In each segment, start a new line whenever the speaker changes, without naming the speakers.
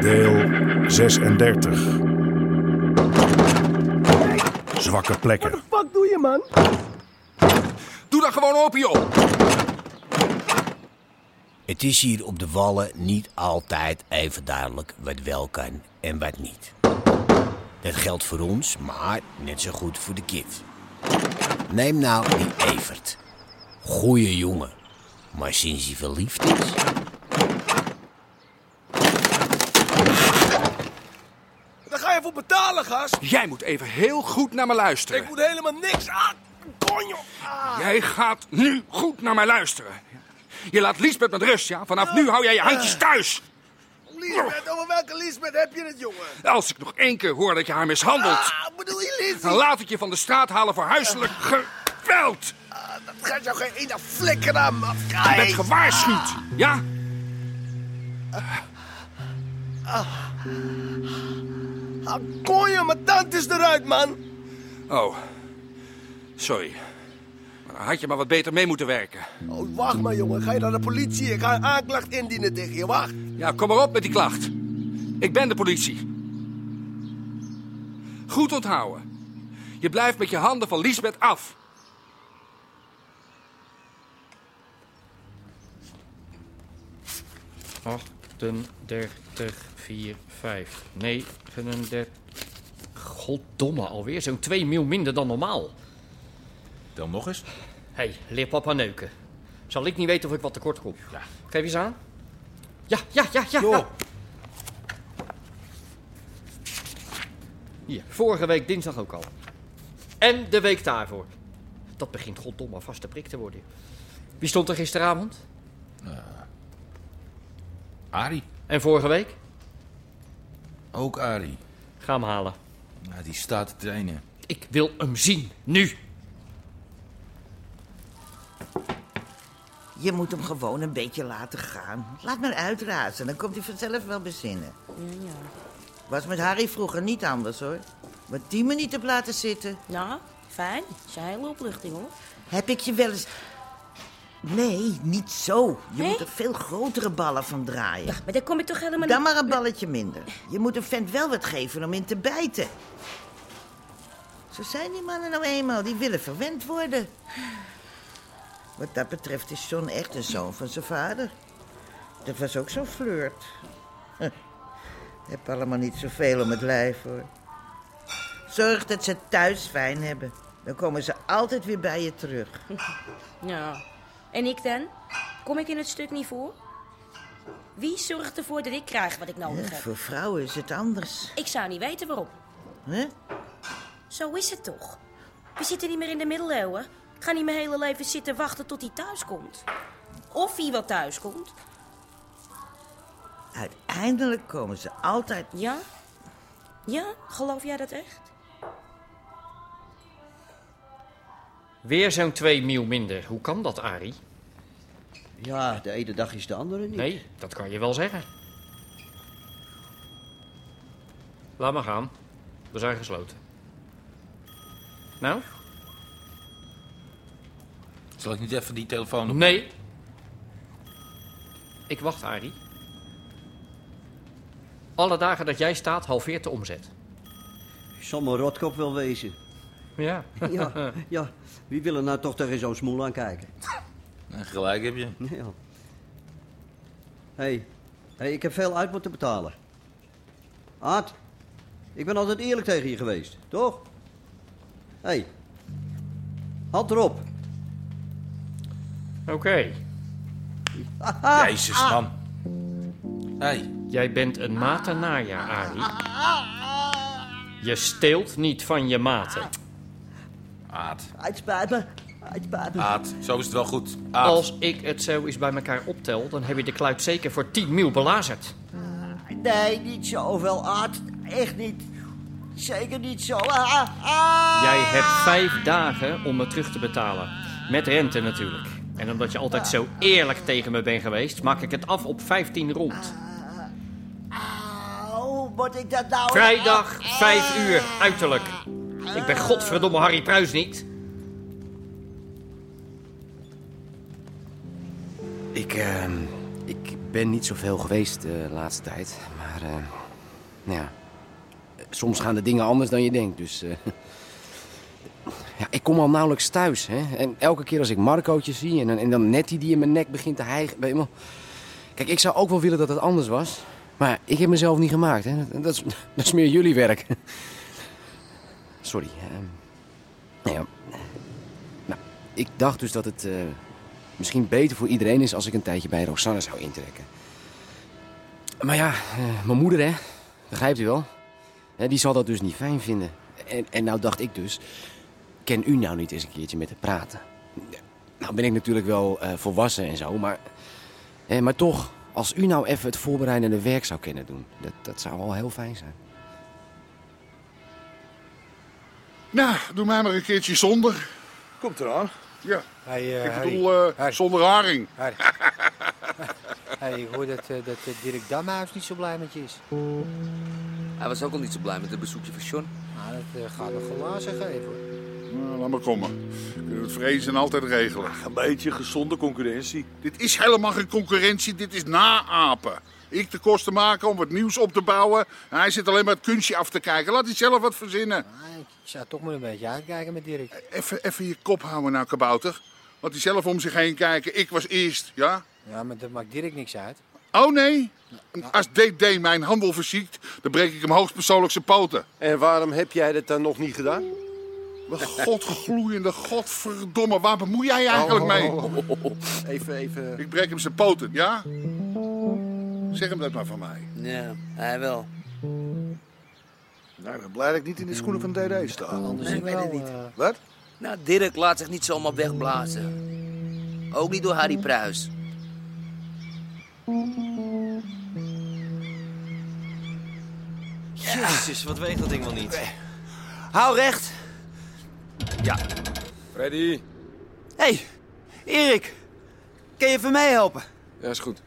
Deel 36. Zwakke plekken.
Wat doe je, man?
Doe dan gewoon open, joh.
Het is hier op de wallen niet altijd even duidelijk wat wel kan en wat niet. Dat geldt voor ons, maar net zo goed voor de kid. Neem nou die Evert. Goeie jongen. Maar sinds hij verliefd is.
Dan ga je voor betalen, gast.
Jij moet even heel goed naar me luisteren.
Ik moet helemaal niks aan. Konjo. Ah.
Jij gaat nu goed naar mij luisteren. Je laat Liesbeth met rust, ja? Vanaf nu hou jij je handjes thuis. Oh.
Liesbeth, over welke Liesbeth heb je het, jongen?
Als ik nog één keer hoor dat je haar mishandelt,
Ah, bedoel je
dan
Liesbeth?
laat ik je van de straat halen voor huiselijk geweld.
Ah, dat gaat jou geen ene flikker aan, man.
Je bent gewaarschuwd, ja?
Ah, konjo, mijn tand is eruit, man.
Oh, sorry. Maar dan had je maar wat beter mee moeten werken.
Oh, wacht maar, jongen. Ga je naar de politie? Ik ga een aanklacht indienen tegen je. Wacht.
Ja, kom maar op met die klacht. Ik ben de politie. Goed onthouden. Je blijft met je handen van Liesbeth af.
dertig, 4, 5, 39. Goddomme, alweer zo'n 2 mil minder dan normaal.
Tel nog eens.
Hé, hey, leer papa neuken. Zal ik niet weten of ik wat tekort kom? Geef eens aan. Ja, ja, ja, ja. ja. Hier, vorige week dinsdag ook al. En de week daarvoor. Dat begint goddomme vast te prik te worden. Wie stond er gisteravond?
Arie.
En vorige week?
Ook Arie.
Ga hem halen.
Ja, die staat te trainen.
Ik wil hem zien, nu.
Je moet hem gewoon een beetje laten gaan. Laat maar uitrazen, dan komt hij vanzelf wel bezinnen. Was met Harry vroeger niet anders hoor. Maar die me niet op laten zitten.
Nou, fijn. Dat is een hele opluchting hoor.
Heb ik je wel eens. Nee, niet zo. Je
Nee?
moet er veel grotere ballen van draaien.
Maar daar kom ik toch helemaal
Dan
niet...
maar een balletje minder. Je moet een vent wel wat geven om in te bijten. Zo zijn die mannen nou eenmaal. Die willen verwend worden. Wat dat betreft is John echt een zoon van zijn vader. Dat was ook zo'n flirt. Huh. Heb allemaal niet zoveel om het lijf hoor. Zorg dat ze het thuis fijn hebben. Dan komen ze altijd weer bij je terug.
Ja. En ik dan? Kom ik in het stuk niet voor? Wie zorgt ervoor dat ik krijg wat ik
Hè,
nodig heb?
voor vrouwen is het anders.
Ik zou niet weten waarom.
hè?
Zo is het toch. We zitten niet meer in de middeleeuwen. Ik ga niet mijn hele leven zitten wachten tot hij thuis komt. Of hij wel thuis komt.
Uiteindelijk komen ze altijd
Ja? Ja? Geloof jij dat echt?
Weer zo'n 2 mil minder. Hoe kan dat, Arie?
Ja, de ene dag is de andere niet.
Nee, dat kan je wel zeggen. Laat maar gaan. We zijn gesloten. Nou?
Zal ik niet even die telefoon op...
Nee. Ik wacht, Arie. Alle dagen dat jij staat, halveert de omzet.
Zal mijn rotkop wel wezen.
Ja.
Ja, ja. Wie wil er nou toch tegen zo'n smoel aan kijken?
Eh, Gelijk heb je.
Ja. Hé, hey. ik heb veel uit moeten betalen. Aad, ik ben altijd eerlijk tegen je geweest, toch? Hé, hey. hand erop.
Oké.
Jezus, man. Hé, hey,
Jij bent een matenaar, ja, Arie. Je steelt niet van je maten.
Aad.
Het spijt me. Het spijt me.
Aad. Zo is het wel goed. Aad.
Als ik het zo eens bij elkaar optel, dan heb je de kluit zeker voor 10 mil belazerd.
Nee, niet zoveel, Aad. Echt niet. Zeker niet zo. Ah, ah.
Jij hebt vijf dagen om me terug te betalen. Met rente natuurlijk. En omdat je altijd zo eerlijk tegen me bent geweest, maak ik het af op 15 rond.
Hoe moet ik dat nou...
Vrijdag, 5 uur, uiterlijk. Ik ben godverdomme Harry Pruis niet.
Ik, eh, ik ben niet zoveel geweest eh, de laatste tijd. Maar, eh, nou ja. Soms gaan de dingen anders dan je denkt. Dus. eh, ja, ik kom al nauwelijks thuis. Hè? En elke keer als ik Marcootje zie en, dan- en dan Nettie die in mijn nek begint te hijgen. weet je wel. Kijk, ik zou ook wel willen dat het anders was. Maar ik heb mezelf niet gemaakt. Hè? Dat, dat, is, dat is meer jullie werk. Sorry. ehm. nou ja. Nou, ik dacht dus dat het. eh, misschien beter voor iedereen is als ik een tijdje bij Rosanne zou intrekken. Maar ja, eh, mijn moeder, hè, begrijpt u wel? Hè, die zal dat dus niet fijn vinden. En, en nou dacht ik dus, ken u nou niet eens een keertje met haar praten? Nou ben ik natuurlijk wel eh, volwassen en zo, maar, hè, Eh, maar toch, als u nou even het voorbereidende werk zou kunnen doen, dat, dat zou wel heel fijn zijn.
Nou, doe mij maar een keertje zonder.
Komt eraan.
Ja,
Hey, eh,
ik
Harry.
bedoel, eh,
Harry.
zonder haring.
Harry. hey, ik hoor dat, eh, dat eh, Dirk Damhuis niet zo blij met je is.
Hij was ook al niet zo blij met het bezoekje van John.
Nou, dat eh, gaat nog glazen geven. hoor.
Nou, laat maar komen. We kunnen het vrezen en altijd regelen.
Een beetje gezonde concurrentie.
Dit is helemaal geen concurrentie, dit is naapen. Ik de kosten maken om wat nieuws op te bouwen. En hij zit alleen maar het kunstje af te kijken. Laat hij zelf wat verzinnen.
Ah, ik zou toch maar een beetje uitkijken met Dirk.
Even, even je kop houden nou, kabouter. Laat hij zelf om zich heen kijken. Ik was eerst, ja?
Ja, maar dat maakt Dirk niks uit.
Oh nee? Als DD mijn handel verziekt, dan breek ik hem hoogstpersoonlijk zijn poten.
En waarom heb jij dat dan nog niet gedaan?
Mijn Godgloeiende, godverdomme, waar bemoei jij je eigenlijk mee?
Oh.
Even, even.
Ik breek hem zijn poten, ja? Zeg hem dat maar van mij.
Ja, hij wel.
Nou, ik ben blij dat ik niet in de schoenen van DD sta.
Anders
Nee, ik
wel,
weet het niet.
eh,
Wat?
Nou, Dirk laat zich niet zomaar wegblazen. Ook niet door Harry Pruis.
Jezus, wat weegt dat ding wel niet.
Hou recht.
Freddy.
hey, Erik. Kan je even meehelpen?
Ja, is goed.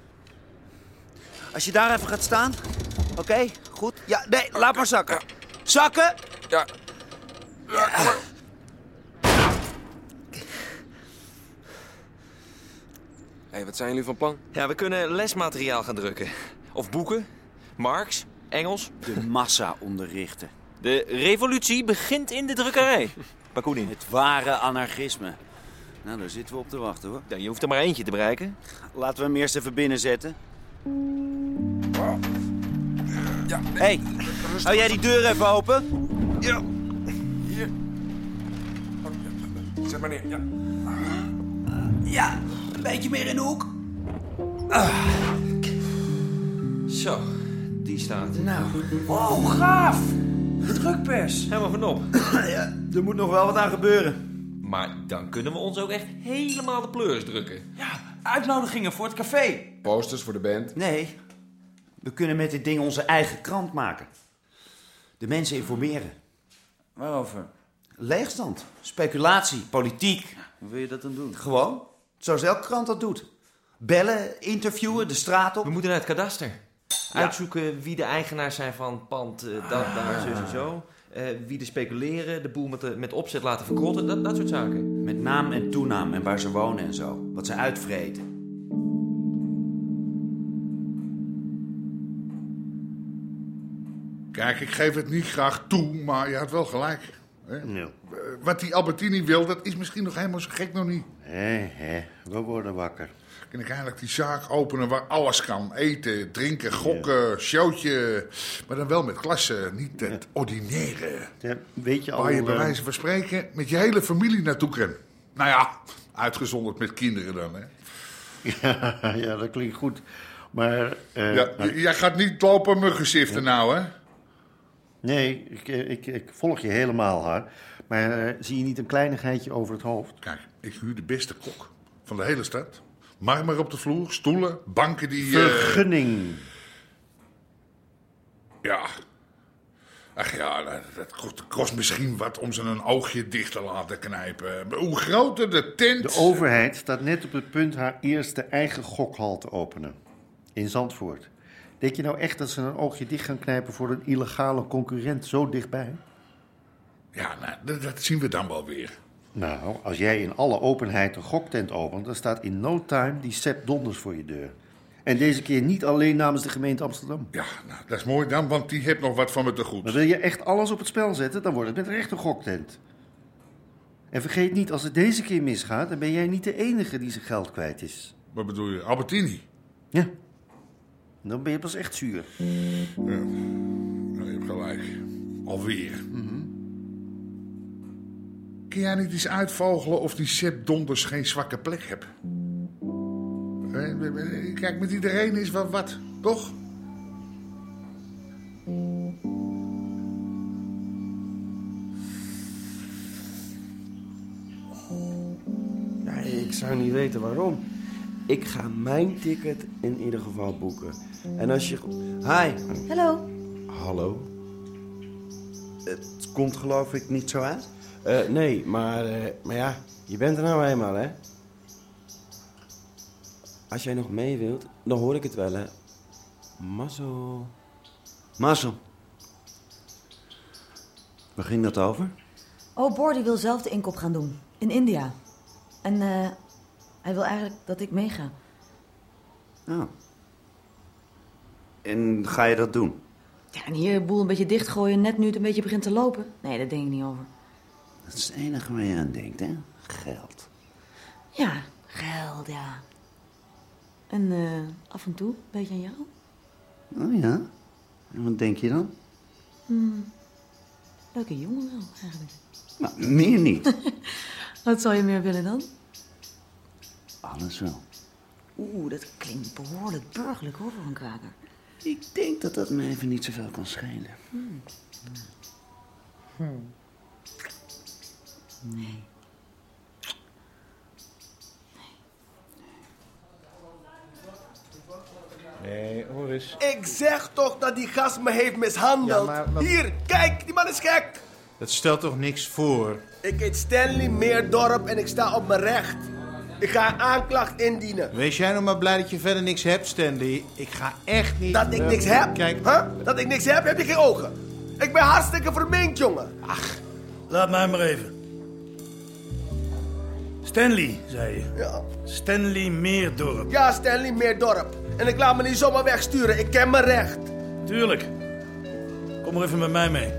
Als je daar even gaat staan. Oké, goed. Ja, nee, laat maar zakken. Zakken!
Ja.
Hé, hey, wat zijn jullie van plan? Ja, we kunnen lesmateriaal gaan drukken. Of boeken. Marx, Engels.
De massa onderrichten.
De revolutie begint in de drukkerij. Bakunin.
Het ware anarchisme. Nou, daar zitten we op te wachten hoor.
Dan, je hoeft er maar eentje te bereiken.
Laten we hem eerst even binnenzetten. Hé, hey, hou jij die deur even open?
Ja. Hier. Oh, ja. Zet maar neer. Ja.
Ja, een beetje meer in de hoek.
Zo, die staat.
Nou,
Wow,
oh,
gaaf! De drukpers.
Helemaal vanop.
Er moet nog wel wat aan gebeuren.
Maar dan kunnen we ons ook echt helemaal de pleurs drukken.
Ja, uitnodigingen voor het café.
Posters voor de band.
Nee, we kunnen met dit ding onze eigen krant maken. De mensen informeren.
Waarover?
Leegstand, speculatie, politiek.
Hoe wil je dat dan doen?
Gewoon, zoals elke krant dat doet. Bellen, interviewen, de straat op.
We moeten naar het kadaster. Uitzoeken wie de eigenaar zijn van het pand, eh, dat,
Ah.
daar, zus en zo. Eh, wie de speculeren, de boel met, de- met opzet laten verkrotten, dat, dat soort zaken.
Met naam en toenaam en waar ze wonen en zo. Wat ze uitvreten.
Kijk, ik geef het niet graag toe, maar je had wel gelijk. Hè?
Nou.
Eh, Wat die Albertini wil, dat is misschien nog helemaal zo gek nog niet.
we worden wakker.
Kan ik eigenlijk die zaak openen waar alles kan? Eten, drinken, gokken, showtje. Maar dan wel met klasse, niet het ordinaire.
weet je eh,
Waar je bij wijze van spreken met je hele familie naartoe kan. Nou ja, uitgezonderd met kinderen dan, hè?
ja, dat klinkt goed. Maar, eh,
nou, Ja, j- jij gaat niet lopen muggen ziften nou, hè?
Nee, ik, ik, ik volg je helemaal, haar. Maar eh, zie je niet een kleinigheidje over het hoofd?
Kijk, ik huur de beste kok van de hele stad. Marmer op de vloer, stoelen, banken die... eh,
Vergunning.
ja. Ach ja, dat, dat kost, kost misschien wat om ze een oogje dicht te laten knijpen. Maar Hoe groter de tent...
De overheid staat net op het punt haar eerste eigen gokhal te openen. In Zandvoort. Denk je nou echt dat ze een oogje dicht gaan knijpen voor een illegale concurrent zo dichtbij?
Ja, nou, dat, dat zien we dan wel weer.
Nou, als jij in alle openheid een goktent opent, dan staat in no time die Sepp Donders voor je deur. En deze keer niet alleen namens de gemeente Amsterdam.
Ja, nou, dat is mooi dan, want die heeft nog wat van me te goed.
Maar wil je echt alles op het spel zetten, dan wordt het met recht een goktent. En vergeet niet, als het deze keer misgaat, dan ben jij niet de enige die zijn geld kwijt is.
Wat bedoel je, Albertini?
Ja. Dan ben je pas echt zuur.
Nou, je hebt gelijk. Alweer. Mhm. Kun jij niet eens uitvogelen of die Sepp Donders geen zwakke plek hebt? Eh, Kijk, met iedereen is wel wat, toch?
Ja, ik zou niet weten waarom. Ik ga mijn ticket in ieder geval boeken. En als je... Hi.
Hallo.
Hallo. Het komt geloof ik niet zo uit? Eh, nee, maar, eh, maar ja, je bent er nou eenmaal, hè? Als jij nog mee wilt, dan hoor ik het wel, hè? Mazzel.
Marcel. Waar ging dat over?
Oh, Boor die wil zelf de inkoop gaan doen. In India. En eh, hij wil eigenlijk dat ik meega.
Ja. En ga je dat doen?
Ja, en hier de boel een beetje dichtgooien, net nu het een beetje begint te lopen. Nee, daar denk ik niet over.
Dat is het enige waar je aan denkt, hè? Geld.
Ja, geld, ja. En eh, af en toe, een beetje aan jou.
Oh ja? En wat denk je dan?
Hmm. Leuke jongen wel, eigenlijk.
Nou, meer niet.
Wat zou je meer willen dan?
Alles wel.
Oeh, dat klinkt behoorlijk burgerlijk hoor voor een kraker.
Ik denk dat dat me even niet zoveel kan schelen.
Hmm. Nee.
Nee, hoor eens.
Ik zeg toch dat die gast me heeft mishandeld.
Ja, maar wat-
Hier, kijk, die man is gek.
Dat stelt toch niks voor?
Ik heet Stanley Meerdorp en ik sta op mijn recht. Ik ga aanklacht indienen.
Wees jij nou maar blij dat je verder niks hebt, Stanley. Ik ga echt niet...
Dat ik niks heb?
Kijk.
Huh? Dat ik niks heb? Heb je geen ogen? Ik ben hartstikke verminkt, jongen. Ach.
Laat mij maar even. Stanley, zei je.
Ja.
Stanley Meerdorp.
Ja, Stanley Meerdorp. En ik laat me niet zomaar wegsturen. Ik ken mijn recht.
Tuurlijk. Kom maar even met mij mee.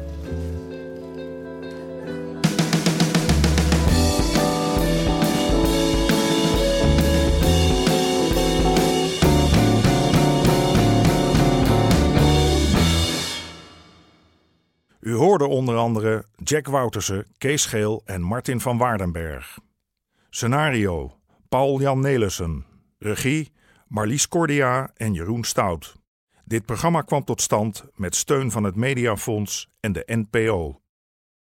U hoorde onder andere Jack Woutersen, Kees Geel en Martin van Waardenberg. Scenario: Paul-Jan Nelissen. Regie: Marlies Cordia en Jeroen Stout. Dit programma kwam tot stand met steun van het Mediafonds en de NPO.